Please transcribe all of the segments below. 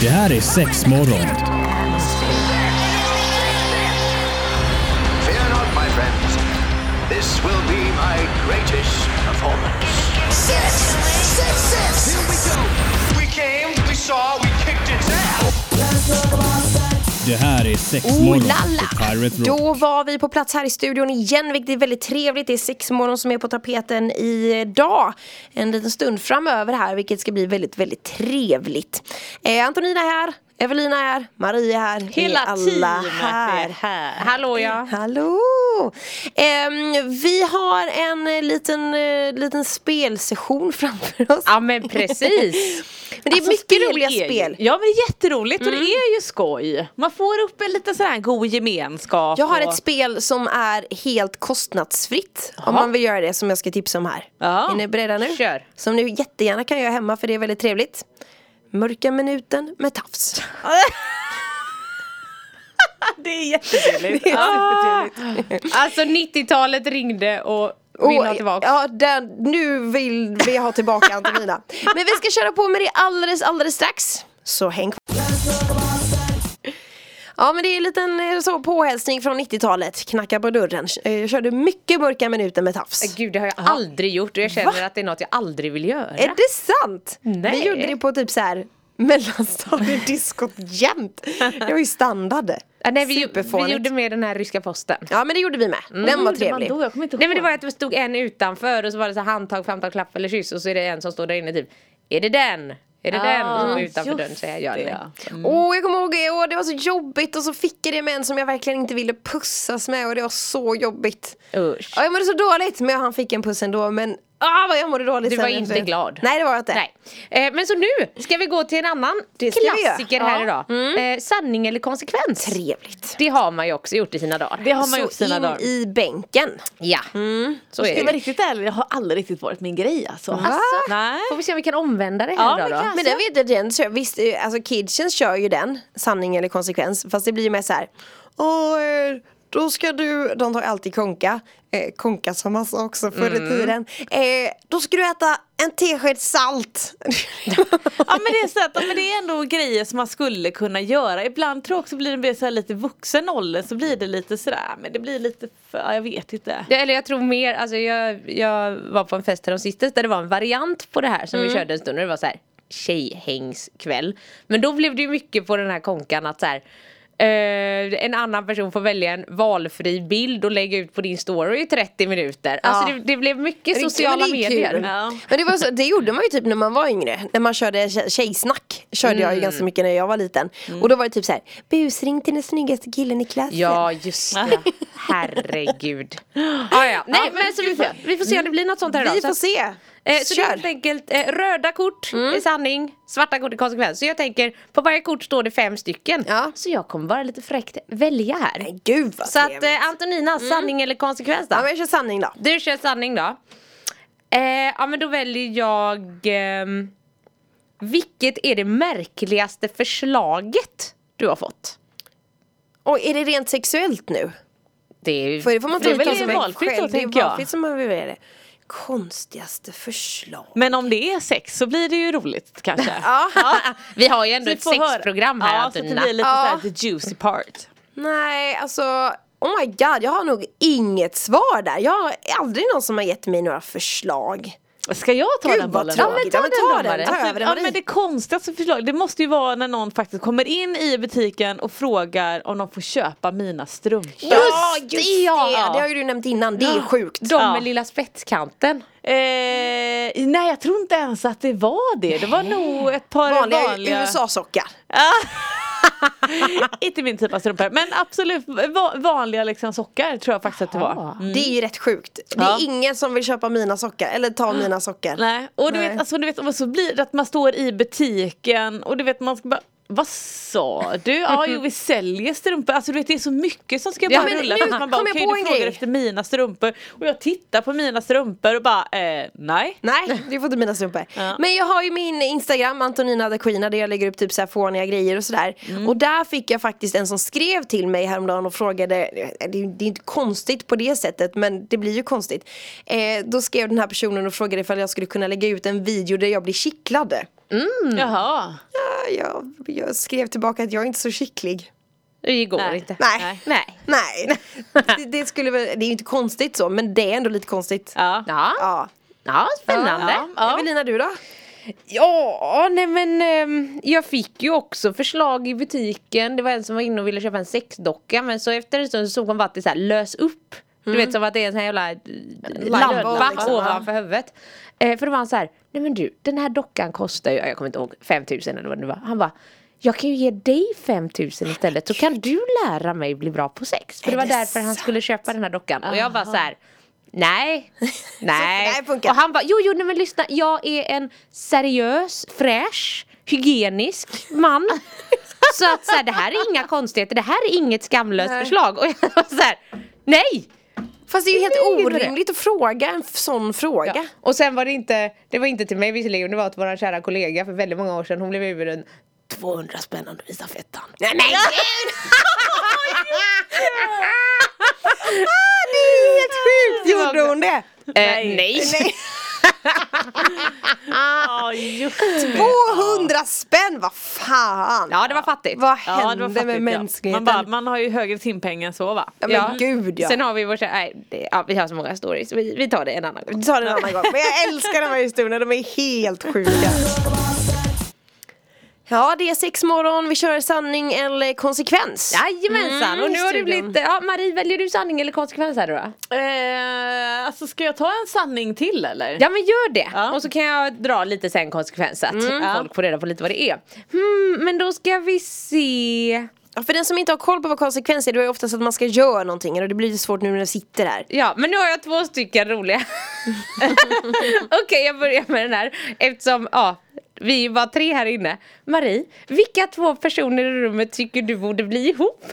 Det här är sex morgon. Fear not, my friends. This will be my greatest performance. Six, six, six. We came, we saw, we kicked its ass. Det här är sex Oh morgon la på la! Pirate Rock. Då var vi på plats här i studion igen, vilket är väldigt trevligt. Det är sex morgon som är på tapeten idag. En liten stund framöver här, vilket ska bli väldigt, väldigt trevligt. Eh, Antonina är här, Evelina är här, Maria är här. Vi Hela är alla teamet här. Mm. är här. Hallå ja. Hallå! Ehm, vi har en eh, liten, eh, liten spelsession framför oss. Ja men precis. Men det är Alltså, mycket spel roliga är ju- spel. Ja men det är jätteroligt och det är ju skoj. Man får upp en liten sån här god gemenskap. Jag har och- ett spel som är helt kostnadsfritt Jaha. om man vill göra det som jag ska tipsa om här. Ja. Är ni beredda nu? Kör. Som ni jättegärna kan göra hemma för det är väldigt trevligt. Mörka minuten med tafs. Det är jättetrevligt. Ja. alltså 90-talet ringde och vill ha Och- tillbaka. ja, den, nu vill vi ha tillbaka Antonina. Men vi ska köra på med det alldeles, alldeles strax. Så häng kvar. Ja men det är en liten eh, så, påhälsning från 90-talet. Knacka på dörren. Eh, Körde mycket mörka minuter med tafs. Äh, Gud det har jag aldrig gjort och jag känner att det är något jag aldrig vill göra. Är det sant? Nej. Vi gjorde det på typ så här mellanstadiediskot jämt. Det var ju standard. Ja, nej, vi, vi Superfånigt. gjorde Mm. med den här ryska posten. Ja men det gjorde vi med. Den var trevlig. Nej men det var att det stod en utanför och så var det så här handtag, framtag, klapp eller kyss och så är det en som står där inne typ Är det den? Är det den? Som är utanför dörren säger jag Ah, ja eller nej. Mm. Åh jag kommer ihåg det, åh, det var så jobbigt och så fick jag det med en som jag verkligen inte ville pussas med och det var så jobbigt. Usch. Ja, jag mådde så dåligt men han fick en puss ändå men ah, vad jag mådde dåligt Du sen var inte efter. glad. Nej det var jag inte. Nej. Eh, men så nu ska vi gå till en annan Det ska vi göra. klassiker Ja. här idag. Eh, sanning eller konsekvens? Trevligt. Det har man ju också gjort i sina dagar. Det har man gjort Så sina in dagar. i bänken. Ja, så Ska är jag vara Mm. det. riktigt ärlig, det har aldrig riktigt varit min grej alltså. Alltså, Nej. Får vi se om vi kan omvända det Ja, här vi idag då? kan. Men den vet jag, den kör, visst, eh, alltså kidsen kör ju den, sanning eller konsekvens. Fast det blir ju mer så här. "Åh, eh, då ska du, de tar alltid konka. Eh, konka som man sa också förr i Mm. tiden. Eh, då ska du äta en tesked salt. Ja men det är så att, ja, men det är ändå grejer som man skulle kunna göra. Ibland tror jag också blir det mer så här lite vuxen ålder så blir det lite sådär men det blir lite för, ja, jag vet inte. Det, eller jag tror mer, alltså jag, jag var på en fest häromsistens där det var en variant på det här som Mm. vi körde en stund och det var så här tjejhängskväll. Men då blev det ju mycket på den här konkan att så här eh, en annan person får välja en valfri bild och lägga ut på din story i 30 minuter. Alltså det, det blev mycket sociala Men det är kul. medier. Ja. Men det, var så, det gjorde man ju typ när man var yngre. När man körde tje- tjejsnack. Körde Mm. jag ju ganska mycket när jag var liten. Och då var det typ så här. Busring till den snyggaste killen i klassen. Ja just det, herregud. Ah, ja. Nej men så vi får, vi får se om det blir något sånt här Mm. idag. Vi Så får att- se. Eh, så det är Kör. helt enkelt eh, röda kort Mm. är sanning, svarta kort är konsekvens. Så jag tänker, på varje kort står det fem stycken. Ja. Så jag kommer bara lite fräckt välja här. Men gud vad så att trevligt. eh, Antonina, Mm. sanning eller konsekvens då? Ja men jag kör sanning då. Du kör sanning då. Eh, ja men då väljer jag... ehm, vilket är det märkligaste förslaget du har fått? Och är det rent sexuellt nu? Det är ju... För det får man Det är tolka väl som valfritt då, själv. Det tänker är jag. valfritt som man vill välja det. Konstigaste förslag. Men om det är sex så blir det ju roligt kanske. Ja. Vi har ju ändå Vi ett får höra. sexprogram här ja, så att det Antonina. blir lite Ja. såhär the juicy part. Nej, alltså. Oh my god, jag har nog inget svar där. Jag har aldrig någon som har gett mig några förslag. Ska jag ta Gud, den vad bollen tråkigt. då? Ja, men ta den, domare. ta Alltså, över den, ja, Marie. men det konstigaste förslaget, det måste ju vara när någon faktiskt kommer in i butiken och frågar om de får köpa mina strumpor. Ja, just det, ja. Det har ju du nämnt innan, det är sjukt. De Ja. med lilla spetskanten. Eh, nej jag tror inte ens att det var det. Det var nog ett par Vanliga, vanliga... Mm. USA-sockar. inte min typ av strumpor. Men absolut va- vanliga liksom sockar tror jag faktiskt att det var. Mm. Det är ju rätt sjukt. Det är Ja. ingen som vill köpa mina sockar, eller ta mina sockar. Nej. Och du Nej. vet, alltså, du vet och så blir det att man står i butiken och du vet man ska bara vad sa du? Ja, jo vi säljer strumpor. Alltså du vet det är så mycket som ska Ja, bara men rulla. nu för att man bara, kom jag okej, på du en frågar grej. efter mina strumpor och jag tittar på mina strumpor och bara eh, nej. Nej, du får inte mina strumpor. Ja. Men jag har ju min Instagram, Antonina the Queen, där jag lägger upp typ så här fåniga grejer och sådär. Mm. Och där fick jag faktiskt en som skrev till mig häromdagen och frågade, eh, det är ju det är inte konstigt på det sättet, men det blir ju konstigt. Eh, då skrev den här Mm. personen och frågade ifall jag skulle kunna lägga ut en video där jag blir kittlad. Jaha. jag, jag skrev tillbaka att jag är inte så skicklig. Det går Nej. inte. Nej. Nej. Nej. Det, det, skulle väl, det är ju inte konstigt så, men det är ändå lite konstigt. Ja. Ja, Ja. ja spännande. Ja, ja. Evelina, du då? Ja, nej men ehm, jag fick ju också förslag i butiken. Det var en som var inne och ville köpa en sexdocka men så efter en stund så såg hon bara att det så här lös upp. Du vet som att det är en sån här jävla eh, lampa Mm. liksom, ja. ovanför huvudet. Eh, för då var han så här, nej men du den här dockan kostar ju, jag kommer inte ihåg, 5000 eller vad det var. Han bara, jag kan ju ge dig 5000 istället så kan du lära mig bli bra på sex. För det var det därför han skulle köpa den här dockan. Och jag var så här, nej, nej. det här funkar Och han bara, jo jo nej, men lyssna, jag är en seriös, fräsch, hygienisk man. så att så här, det här är inga konstigheter, det här är inget skamlöst Nej. förslag. Och jag var så här, nej! Fast det är ju Nej, helt det är det. orimligt att fråga en f- sån fråga. Ja. Och sen var det inte, det var inte till mig visserligen, det var till vår kära kollega för väldigt många år sedan, hon blev erbjuden 200 spänn om du visar fettan. Nej men gud! Ah, Helt sjukt! Gjorde hon det? Eh, nej! Nej. Ja, Ah, just det. 200 spänn, vad fan! Ja det var fattigt. Vad Ja, det var Ah, hände fattigt, med ja. mänskligheten? Man, bara, man har ju högre timpengar än så va? ja, men gud ja. Sen har vi vår, kära- nej, det, ja, vi har så många stories, vi, vi tar det en annan gång. Vi tar det en annan gång. Men jag älskar de här historierna, de är helt sjuka. Ja, det är sex morgon, vi kör sanning eller konsekvens. Jajamensan! Mm, och nu i har du studion. blivit... Ja, Marie, väljer du sanning eller konsekvens här då? då? Eh, alltså ska jag ta en sanning till eller? Ja Mm. men gör det! Ja. Och så kan jag dra lite sen konsekvens så att folk får reda på lite vad det är. Hmm, men då ska vi se... Ja, För den som inte har koll på vad konsekvens är, det är ju oftast att man ska göra någonting och det blir ju svårt nu när vi sitter här. Ja, men nu har jag två stycken roliga. Okej, jag börjar med den här. Eftersom, ja, vi är ju bara tre här inne. Marie, vilka två personer i rummet tycker du borde bli ihop?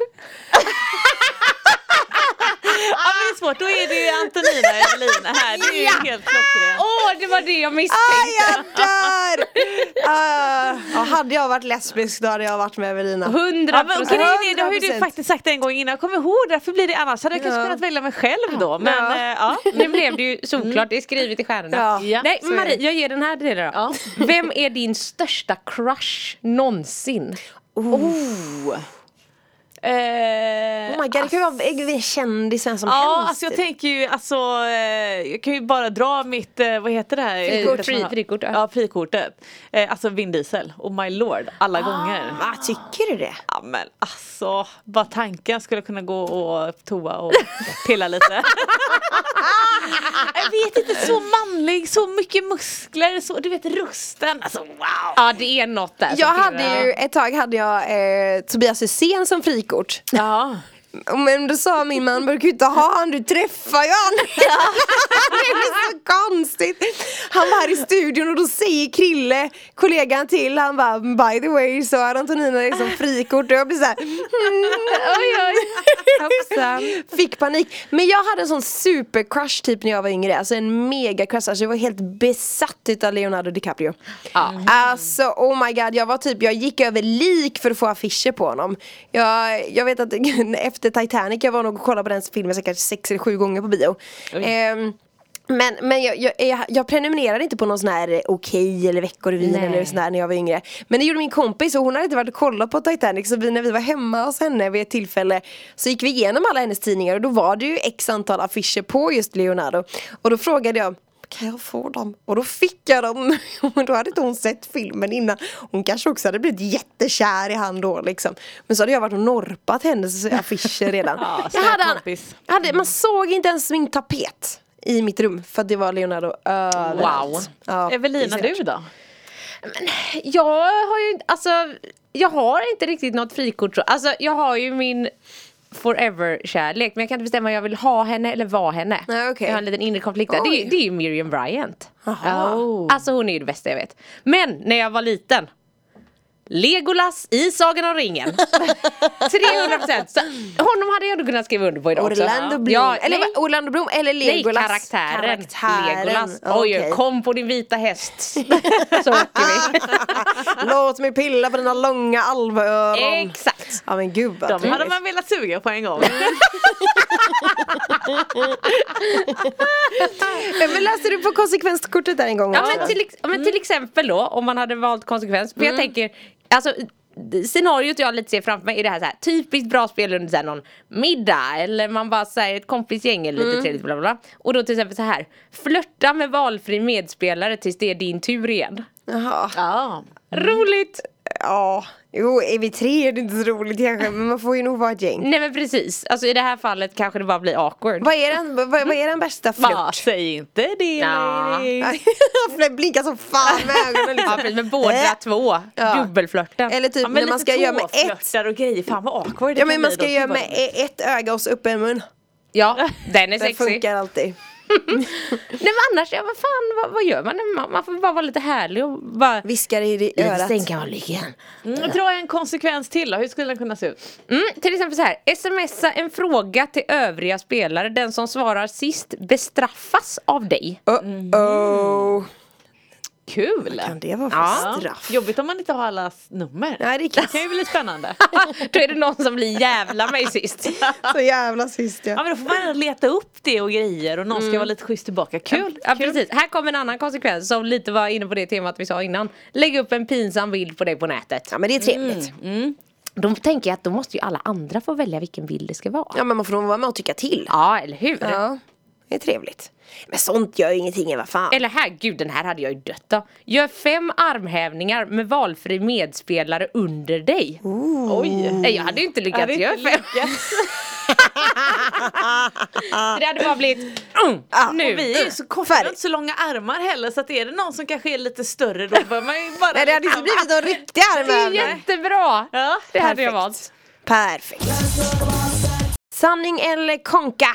Ja men det är svårt, då är det ju Antonina och Evelina här, det är ju Ja. helt klockrent. Åh, det var det jag Ah, misstänkte! jag dör! Ah, ja, hade jag varit lesbisk då hade jag varit med Evelina. Ja, Hundra men procent! grejen är, det har ju du 100%. faktiskt sagt en gång innan, jag kommer ihåg därför blir det annars hade jag kanske Ja. kunnat välja mig själv då men Ja. eh, ja. Nu blev det ju solklart, det är skrivet i stjärnorna. Ja, Ja, Nej så är Marie, det. jag ger den här till dig då. Ja. Vem är din största crush någonsin? Eh, Oh my god, det kan ju vara en kändis vem som Ja, helst. typ. alltså jag tänker ju alltså, eh, jag kan ju bara dra mitt, eh, vad heter det här? Frikort. Kortet som jag har. Frikort, ja. ja. frikortet. Eh, alltså Vin Diesel, oh my lord, alla gånger. Va, Ah, tycker du det? Ja men alltså, bara tanken skulle kunna gå och toa och pilla lite. jag vet inte, så manlig, så mycket muskler, så, du vet rusten, alltså wow! Ja det är något där som Jag pirrar. hade ju, ett tag hade jag eh, Tobias Hysén som frikort. Ja. Men då sa min man, du kan ju inte ha han, du träffar ju han. det är så konstigt. Han var här i studion och då säger Krille, kollegan till, han bara by the way så har Antonina liksom frikort och jag blir "Mm." såhär Oj oj! Hoppsan. Fick panik. Men jag hade en sån supercrush typ när jag var yngre. Alltså en mega crush. Alltså jag var helt besatt utav Leonardo DiCaprio. Ja. Alltså oh my god. Jag var typ, jag gick över lik för att få affischer på honom. Jag, jag vet att efter Titanic, jag var nog och kollade på den filmen säkert sex eller sju gånger på bio. Ehm, men, men jag, jag, jag, jag prenumererade inte på någon sån här Okej eller Veckorevyn Nej. eller sån där när jag var yngre. Men det gjorde min kompis och hon hade inte varit och kollat på Titanic så vi, när vi var hemma hos henne vid ett tillfälle så gick vi igenom alla hennes tidningar och då var det ju x antal affischer på just Leonardo. Och då frågade jag kan jag få dem? Och då fick jag dem. Och då hade inte hon sett filmen innan. Hon kanske också hade blivit jättekär i han då liksom. Men så hade jag varit och norpat hennes affischer redan. Ja, jag snäll hade han, kompis. jag hade, man såg inte ens min tapet i mitt rum för att det var Leonardo överallt. Wow. Ja, Evelina, det är du då? Jag har ju inte- alltså jag har inte riktigt något frikort så. Alltså jag har ju min forever-kärlek men jag kan inte bestämma om jag vill ha henne eller vara henne. Nej, okej. Jag har en liten inre konflikt där. Det, Oj. är- det är ju Miriam Bryant. Jaha. Oh. Alltså hon är ju det bästa jag vet. Men när jag var liten. Legolas i Sagan om ringen. 300 procent. Honom hade jag ändå kunnat skriva under på idag också. Orlando Bloom, Ja, eller nej. vad- Orlando Bloom eller Nej, Legolas karaktären. Karaktären. Legolas. Oj, Okej. kom på din vita häst. Så åker vi. Låt mig pilla på dina långa alvöron Exakt. Ja men gud vad De hade trevligt. man velat suga på en gång. Eh, Men läste du på konsekvenskortet där en gång Ja, också? Mm. men till, ex- ja, men till exempel då, om man hade valt konsekvens. För jag tänker, alltså d- Scenariot jag lite ser framför mig är det här, så här typiskt bra spel under så här, någon middag eller man bara säger ett kompisgäng eller lite Mm. trevligt bla, bla bla Och då till exempel så här Flörta med valfri medspelare tills det är din tur igen Jaha. Ja. Mm. Roligt! Ja, jo är vi tre är det inte så roligt kanske men man får ju nog vara ett gäng. Nej men precis, alltså i det här fallet kanske det bara blir awkward Vad är den, vad, vad är den bästa Va, flört? säg inte det Ja. Lady. Flört blinkar som fan med ögonen Ja liksom. precis, men båda Äh. två, Ja. dubbelflörten Eller typ Ja, när man lite ska göra med ett tåflörtar och grejer, fan vad awkward det Ja kan men man bli ska då. göra Gud, vad med roligt. e- ett öga och så upp en mun. Ja, den är Det sexig funkar alltid. Nej men annars, ja, vad fan, vad, vad gör man? man? Man får bara vara lite härlig och bara Viskar i det örat. kan vara lyckan Mm, dra en konsekvens till då, hur skulle den kunna se ut? mm, Till exempel så här, smsa en fråga till övriga spelare Den som svarar sist bestraffas av dig Oh, oh. Kul! Kan det vara för Mm. Ja. straff? Jobbigt om man inte har allas nummer. Nej det Det kan ju kan bli lite spännande. Då är det någon som blir jävla mig sist så jävla sist Ja ja. men då får man ändå leta upp det och grejer och någon Mm. ska vara lite schysst tillbaka. Kul! Ja precis, här kommer en annan konsekvens som lite var inne på det temat vi sa innan Lägg upp en pinsam bild på dig på nätet Mm. Ja men det är trevligt. Då tänker jag att då måste ju alla andra få välja vilken bild det ska vara Ja men man får nog vara med och tycka till. Ja, eller hur? Ja, det är trevligt. Men sånt gör ju ingenting, vad fan. Eller här, gud den här hade jag ju dött då. Gör fem armhävningar med valfri medspelare under dig. Oj! Nej, jag hade ju inte Jag lyckats hade göra inte fem. lyckats. Det hade bara blivit mm, nu. Och vi är ju så korta Färg. och inte så långa armar heller så att är det någon som kanske är lite större då bör man ju bara... Nej, det hade inte blivit någon riktig Det är armhävning. jättebra! Ja, det hade perfekt. jag valt. Perfekt. Sanning eller konka?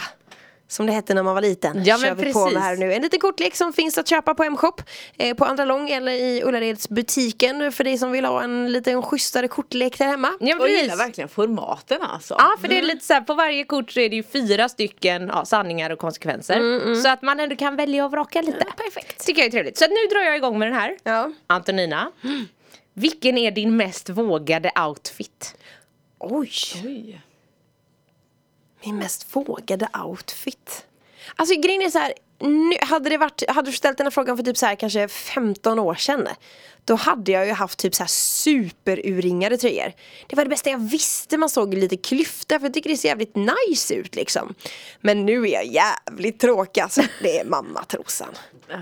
Som det hette när man var liten. Ja, men Kör vi på precis. med här nu. En liten kortlek som finns att köpa på M-shop. Eh, på Andra Lång eller i Ullareds butiken. För dig som vill ha en liten schysstare kortlek där hemma. Ja, Och gillar precis. verkligen formaten alltså. Ja, för det är Mm. lite så här, på varje kort så är det ju fyra stycken ja, sanningar och konsekvenser. Mm, Så att man ändå kan välja och vraka lite. perfekt. Tycker jag är trevligt. Så nu drar jag igång med den här. Ja. Antonina, vilken är din mest vågade outfit? Oj, Oj. min mest vågade outfit. Alltså grejen är så här. Nu, hade, det varit, hade du ställt den här frågan för typ så här kanske 15 år sedan Då hade jag ju haft typ så här superurringade tröjor Det var det bästa jag visste, man såg lite klyfta för jag tycker det ser jävligt nice ut liksom Men nu är jag jävligt tråkig alltså, det är mammatrosan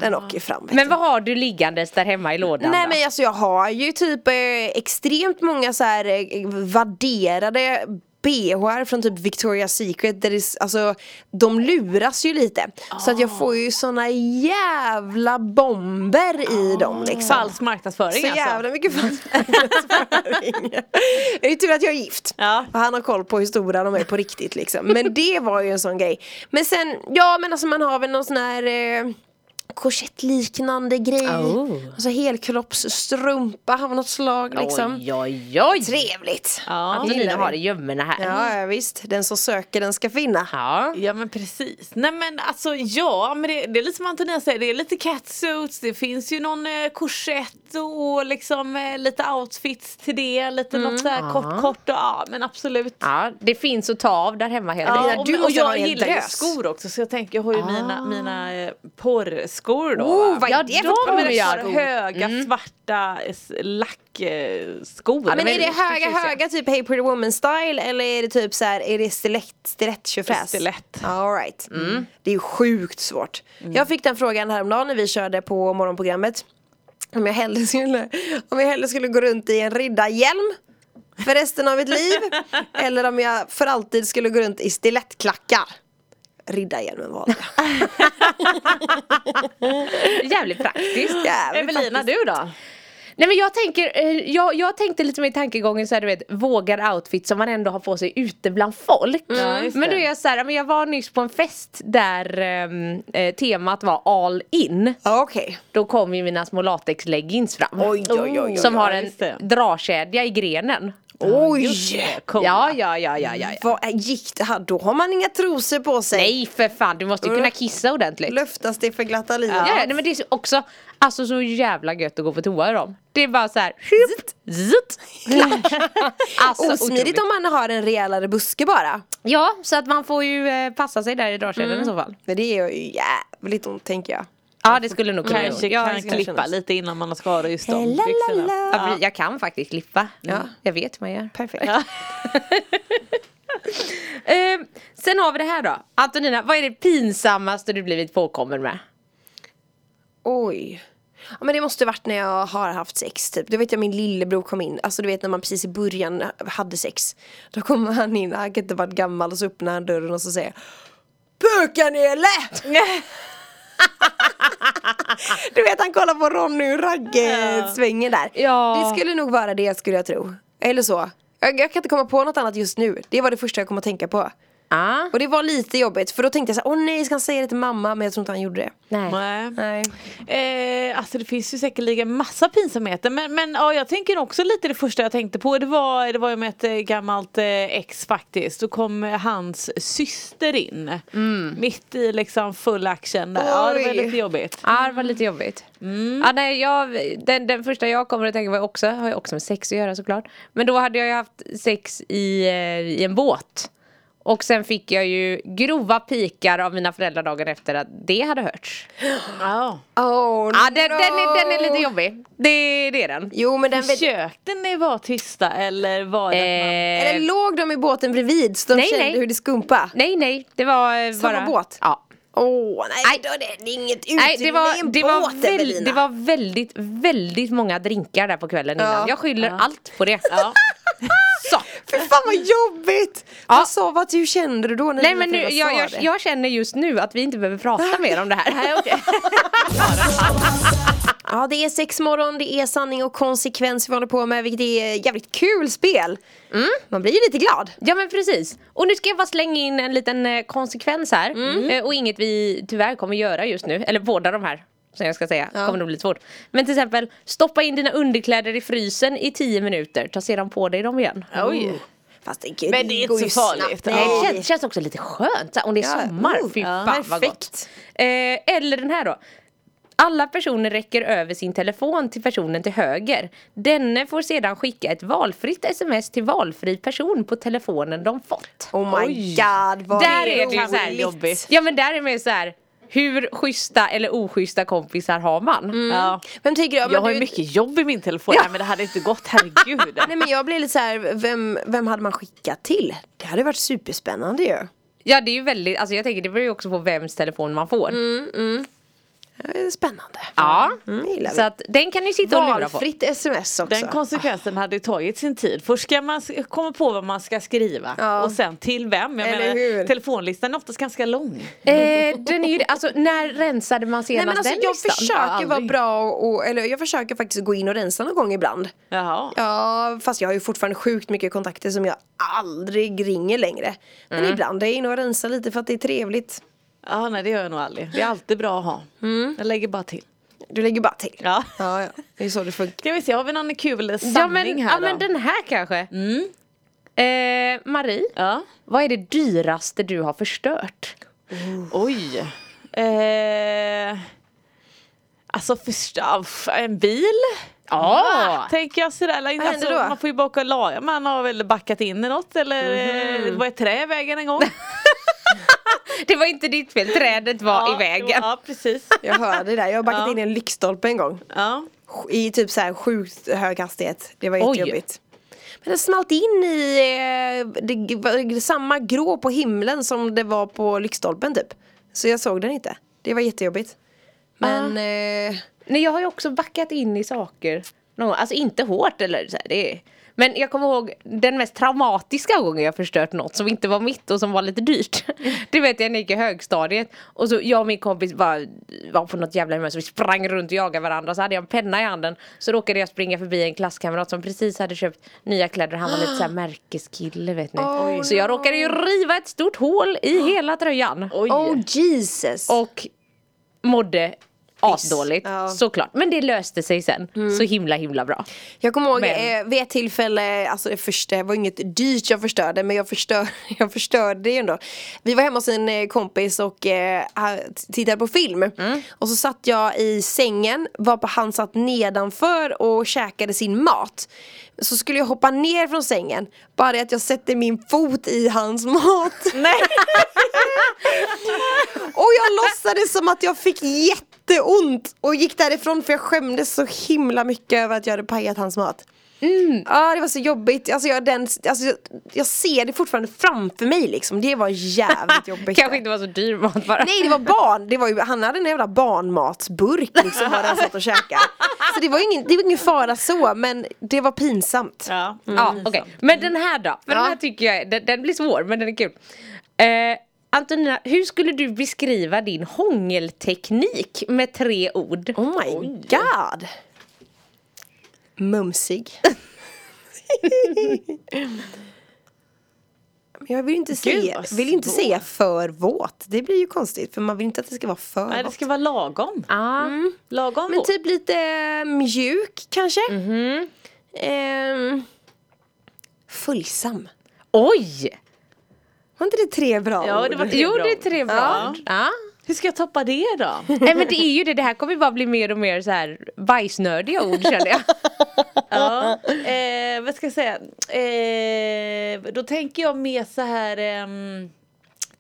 Den åker ju fram vet Men du. vad har du liggandes där hemma i lådan Nej då? men alltså jag har ju typ eh, extremt många så här eh, värderade BHR från typ Victoria's Secret där det, s- alltså de luras ju lite Så att jag får ju såna jävla bomber i dem liksom Falsk marknadsföring Så alltså. jävla mycket falsk marknadsföring. Det är ju tur att jag är gift Ja. och han har koll på hur stora de är på riktigt liksom Men det var ju en sån grej Men sen, ja men alltså man har väl någon sån här eh, korsettliknande grej Oh. Alltså helkroppsstrumpa av något slag liksom Oj, oj, oj. Trevligt! Ja. Antonina gillar har vi. i gömmorna här. Ja, ja visst, den som söker den ska finna Ja. Ja men precis. Nej men alltså ja, men det, det är lite som Antonina säger, det är lite catsuits, det finns ju någon eh, korsett och liksom eh, lite outfits till det, lite Mm. något så här kort kort och ja men absolut. ja, det finns att ta av där hemma helt Ja, Lina, och, du och måste ha jag en gillar ju drös. skor också så jag tänker jag har ju mina, mina eh, porrskor då. Ah. Oh, va? vad är Ja, det de för är Men porrskor? det jag är ett par höga svarta lackskor. Mm. Ja, men är det höga, höga typ Hey Pretty Woman style eller är det typ så här, är det stilett, stilett tjofräs? Stilett. All right. Mm. Mm. Det är ju sjukt svårt. Jag fick den frågan häromdagen när vi körde på morgonprogrammet. Om jag hellre skulle, om jag hellre skulle gå runt i en riddarhjälm för resten av mitt liv. eller om jag för alltid skulle gå runt i stilettklackar. Riddarhjälmen valde jag. Jävligt praktiskt. Jävligt Evelina faktiskt. du då? Nej men jag tänker, eh, jag, jag tänkte lite med tankegången så här, du vet vågad outfit som man ändå har på sig ute bland folk. Mm. Ja, just men då det. är jag så här, ja, men jag var nyss på en fest där ehm, eh, temat var all in. Ja, Okej. Då kom ju mina små latex-leggings fram. Oj, oj, oj, oj. som har ja, en just det. dragkedja i grenen. Oj! Coola. Ja, ja, ja, ja, ja. ja. Vad är- gick det här? Då har man inga trosor på sig. Nej för fan, du måste ju Mm. kunna kissa ordentligt. Luftas det för glatta livet. Ja, ja, nej, men det är så- också alltså, så jävla gött att gå på toa i dem. Det är bara så här, zit, zit, klart. alltså, Osmidigt otroligt. om man har en rejälare buske bara. Ja, så att man får ju eh, passa sig där i dragkedjan i så fall. Men det gör ju jävligt ont tänker jag. Ja det skulle nog kunna Kanske gjort. Ja, kan det skulle klippa kunna. lite innan man har skadat just de La, la, byxorna. la. Ja, Jag kan faktiskt klippa. Jag vet hur man gör. Perfekt. Eh, sen har vi det här då. Antonina, vad är det pinsammaste du blivit påkommen med? Oj. Ja, men det måste varit när jag har haft sex typ. Då vet jag min lillebror kom in. Alltså du vet när man precis i början hade sex. Då kom han in, han kan inte varit gammal och så öppnar han dörren och så säger Pukar ni eller? du vet han kollar på Ronny och Ragge-svängen där. Ja. Det skulle nog vara det skulle jag tro. Eller så. Jag, jag kan inte komma på något annat just nu. Det var det första jag kom att tänka på. Ah. Och det var lite jobbigt för då tänkte jag så här, åh nej ska han säga det till mamma? Men jag tror inte han gjorde det. Nej. Nej. Nej. Eh, alltså det finns ju säkerligen massa pinsamheter men, men ja, jag tänker också lite det första jag tänkte på det var, det var ju med ett eh, gammalt eh, ex faktiskt. Då kom eh, hans syster in mitt i liksom full action där. Ja det var Oj. lite jobbigt. Ja det var lite jobbigt. Ja, nej, jag, den, den första jag kommer att tänka på också, har ju också med sex att göra såklart. Men då hade jag ju haft sex i, eh, i en båt. Och sen fick jag ju grova pikar av mina föräldrar dagen efter att det hade hörts. Ja. Oh, Ja den, no. den, är, den är lite jobbig. Det, det är den. Jo men den vet... Försökte ni vara tysta eller var det att man... Eh, Eller låg de i båten bredvid så de Nej, kände nej. hur det skumpa? nej nej, det var eh, Samma bara... båt? Ja. Åh nej, då är det- det är inget utrymme Nej, det i var, en det, båt var väl, Evelina. det var väldigt, väldigt många drinkar där på kvällen innan. Jag skyller allt på det. Så. Fy fan vad jobbigt! Ja. Vad sa, vad, hur kände du då när Nej dina men nu, föräldrar jag, sa jag, det? jag känner just nu att vi inte behöver prata mer om det här. Ja det är sexmorgon, det är sanning och konsekvens vi håller på med vilket är jävligt kul spel. Mm. Man blir ju lite glad. Ja men precis. Och nu ska jag bara slänga in en liten eh, konsekvens här. Mm. Eh, och inget vi tyvärr kommer göra just nu. Eller båda de här. Som jag ska säga. Kommer nog bli svårt. Men till exempel stoppa in dina underkläder i frysen i 10 minuter. Ta sedan på dig dem igen. Oj. Oh. Fast det, gud, Men det är inte går ju så farligt. snabbt. Ja. Nej, det Nej. känns, känns också lite skönt. så här, Om det är Ja, sommar. oh, Fy ja. fan vad gott. Perfekt. Eh, eller den här då. Alla personer räcker över sin telefon till personen till höger. Denne får sedan skicka ett valfritt sms till valfri person på telefonen de fått. Oh my Oj. god vad Där är det ju så här roligt. jobbigt. Ja men där är man ju så här. Hur schyssta eller oschyssta kompisar har man? Ja. Vem tycker jag? Jag har ju mycket jobb i min telefon. Nej men det hade inte gått, herregud. Nej men jag blir lite så här, vem, vem hade man skickat till? Det hade varit superspännande ju. Ja det är ju väldigt, alltså jag tänker det beror ju också på vems telefon man får. Det är Spännande. Ja, Mm, gillar vi. så att den kan ni sitta och lura på. Valfritt sms också. Den konsekvensen hade ju tagit sin tid. Först ska man s- komma på vad man ska skriva Ja. och sen till vem. Jag Eller menar, hur? telefonlistan är oftast ganska lång. Eh, den är ju, alltså när rensade man Nej, senast men alltså, den jag listan? försöker Ja, vara aldrig. bra och, och, eller jag försöker faktiskt gå in och rensa någon gång ibland. Jaha. Ja, fast jag har ju fortfarande sjukt mycket kontakter som jag aldrig ringer längre. Men ibland är jag inne och rensar lite för att det är trevligt. Ja, nej det gör jag nog aldrig. Det är alltid bra att ha. Jag lägger bara till. Du lägger bara till. Ja. Ja, ja. det är så det funkar. Ska vi se, har vi någon kul sanning Ja men, här ja, då? men den här kanske. Eh, Marie, Ja. vad är det dyraste du har förstört? Oj. Eh... Alltså först, uff, en bil? Ja! Tänker jag sådär. Eller, hände Alltså, då? man får ju baka och laga. Man har väl backat in i något eller eh, var ett trä i vägen en gång. Det var inte ditt fel, trädet var i vägen. Ja precis. Jag hörde det där, jag har backat Ja. in i en lyktstolpe en gång. Ja. I typ så här sjukt hög hastighet. Det var Oj. jättejobbigt. Men den smalt in i eh, det, g- var samma grå på himlen som det var på lyktstolpen typ. Så jag såg den inte. Det var jättejobbigt. Men eh, Nej jag har ju också backat in i saker. Nå, Alltså inte hårt eller så här, det är... Men jag kommer ihåg den mest traumatiska gången jag förstört något som inte var mitt och som var lite dyrt. Det vet jag när jag gick i högstadiet och så jag och min kompis bara var på något jävla humör så vi sprang runt och jagade varandra så hade jag en penna i handen så råkade jag springa förbi en klasskamrat som precis hade köpt nya kläder han var lite såhär märkeskille vet ni. så jag råkade ju riva ett stort hål i hela tröjan. Oj. oh Jesus. Och mådde asdåligt Ja. såklart. Men det löste sig sen. Så himla himla bra. Jag kommer ihåg Men- eh, vid ett tillfälle, alltså det första det var inget dyrt jag förstörde men jag, förstör, jag förstörde det ju ändå. Vi var hemma hos en eh, kompis och eh, ha- tittade på film. Och så satt jag i sängen, var på han satt nedanför och käkade sin mat. Så skulle jag hoppa ner från sängen, bara det att jag sätter min fot i hans mat. Nej. Och jag låtsades som att jag fick jätte jätteont och gick därifrån för jag skämdes så himla mycket över att jag hade pajat hans mat. Ja Mm. det var så jobbigt, alltså jag, den, alltså jag, jag ser det fortfarande framför mig liksom, det var jävligt jobbigt Kanske inte var så dyr mat bara. Nej det var barn, det var ju, han hade en jävla barnmatsburk liksom var han satt och käkade Så det var ju ingen, det var ingen fara så men det var pinsamt Ja. Mm. Ja, okej. Men den här då? För den här tycker jag, den, den blir svår men den är kul. Eh, Antonina, hur skulle du beskriva din hångelteknik med tre ord? Oh my god Mumsig Men Jag vill inte, säga, vad vill inte säga för våt, det blir ju konstigt för man vill inte att det ska vara för Nej, det våt ska vara lagom. Ah. Lagom Men våt. typ lite eh, mjuk kanske Mhm. Ehm, Följsam Oj! Var inte det tre bra Ja, det ord? var tre Jo bra det är ord. tre bra Ja. ord. Ja. Hur ska jag toppa det då? Nej men det är ju det, det här kommer bara bli mer och mer så här bajsnördiga ord känner jag. Ja. Eh, vad ska jag säga? Eh, då tänker jag mer så här ehm,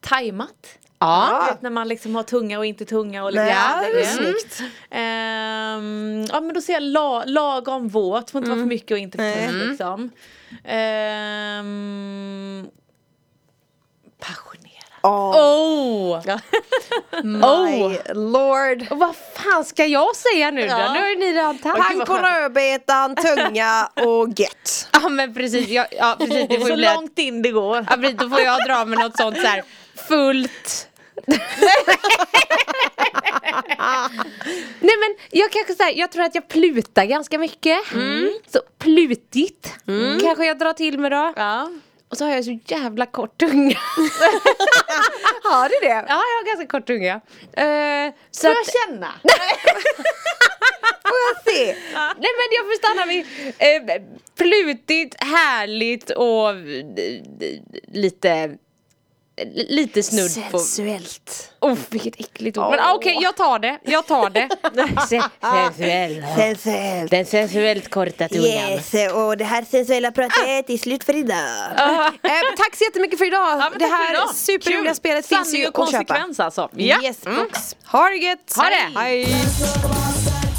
tajmat. Ja. Du Vet, när man liksom har tunga och inte tunga och lite Ja, Ah. det är Mm. snyggt. Ehm, ja men då säger jag la, lagom våt, får inte vara för mycket och inte för torrt liksom. Ehm, passionerad. Åh, Oh! Oh my lord Och vad fan ska jag säga nu då? Ja. Nu har ni redan tagit. Pank och rödbetan, tunga och gött Ja men precis, ja, ja, precis det får ju Ah. Så bli att- långt in det går. Ja, precis, då får jag dra med något sånt så här fullt. Nej men jag kanske så här, jag tror att jag plutar ganska mycket. Så plutigt kanske jag drar till med då. Ja. Och så har jag så jävla kort tunga. Har du det? ja jag har ganska kort tunga. Eh, så Får att, jag känna? Får jag se? nej men jag får stanna vid eh, plutigt, härligt och eh, lite Lite snudd på Sensuellt Oh, vilket äckligt ord. Men ah, okej, jag tar det. Jag tar det. Sensuell. Alltså, Sensuellt Den sensuellt korta och det här sensuella pratet är slut för idag eh, Tack så jättemycket för idag Ah. Ja, men Det tack för här idag. superroliga Kul. spelet finns Sanning ju och att köpa konsekvens alltså. Yes, folks. Ha det gött! Ha det. Hej! Dance floor, come on,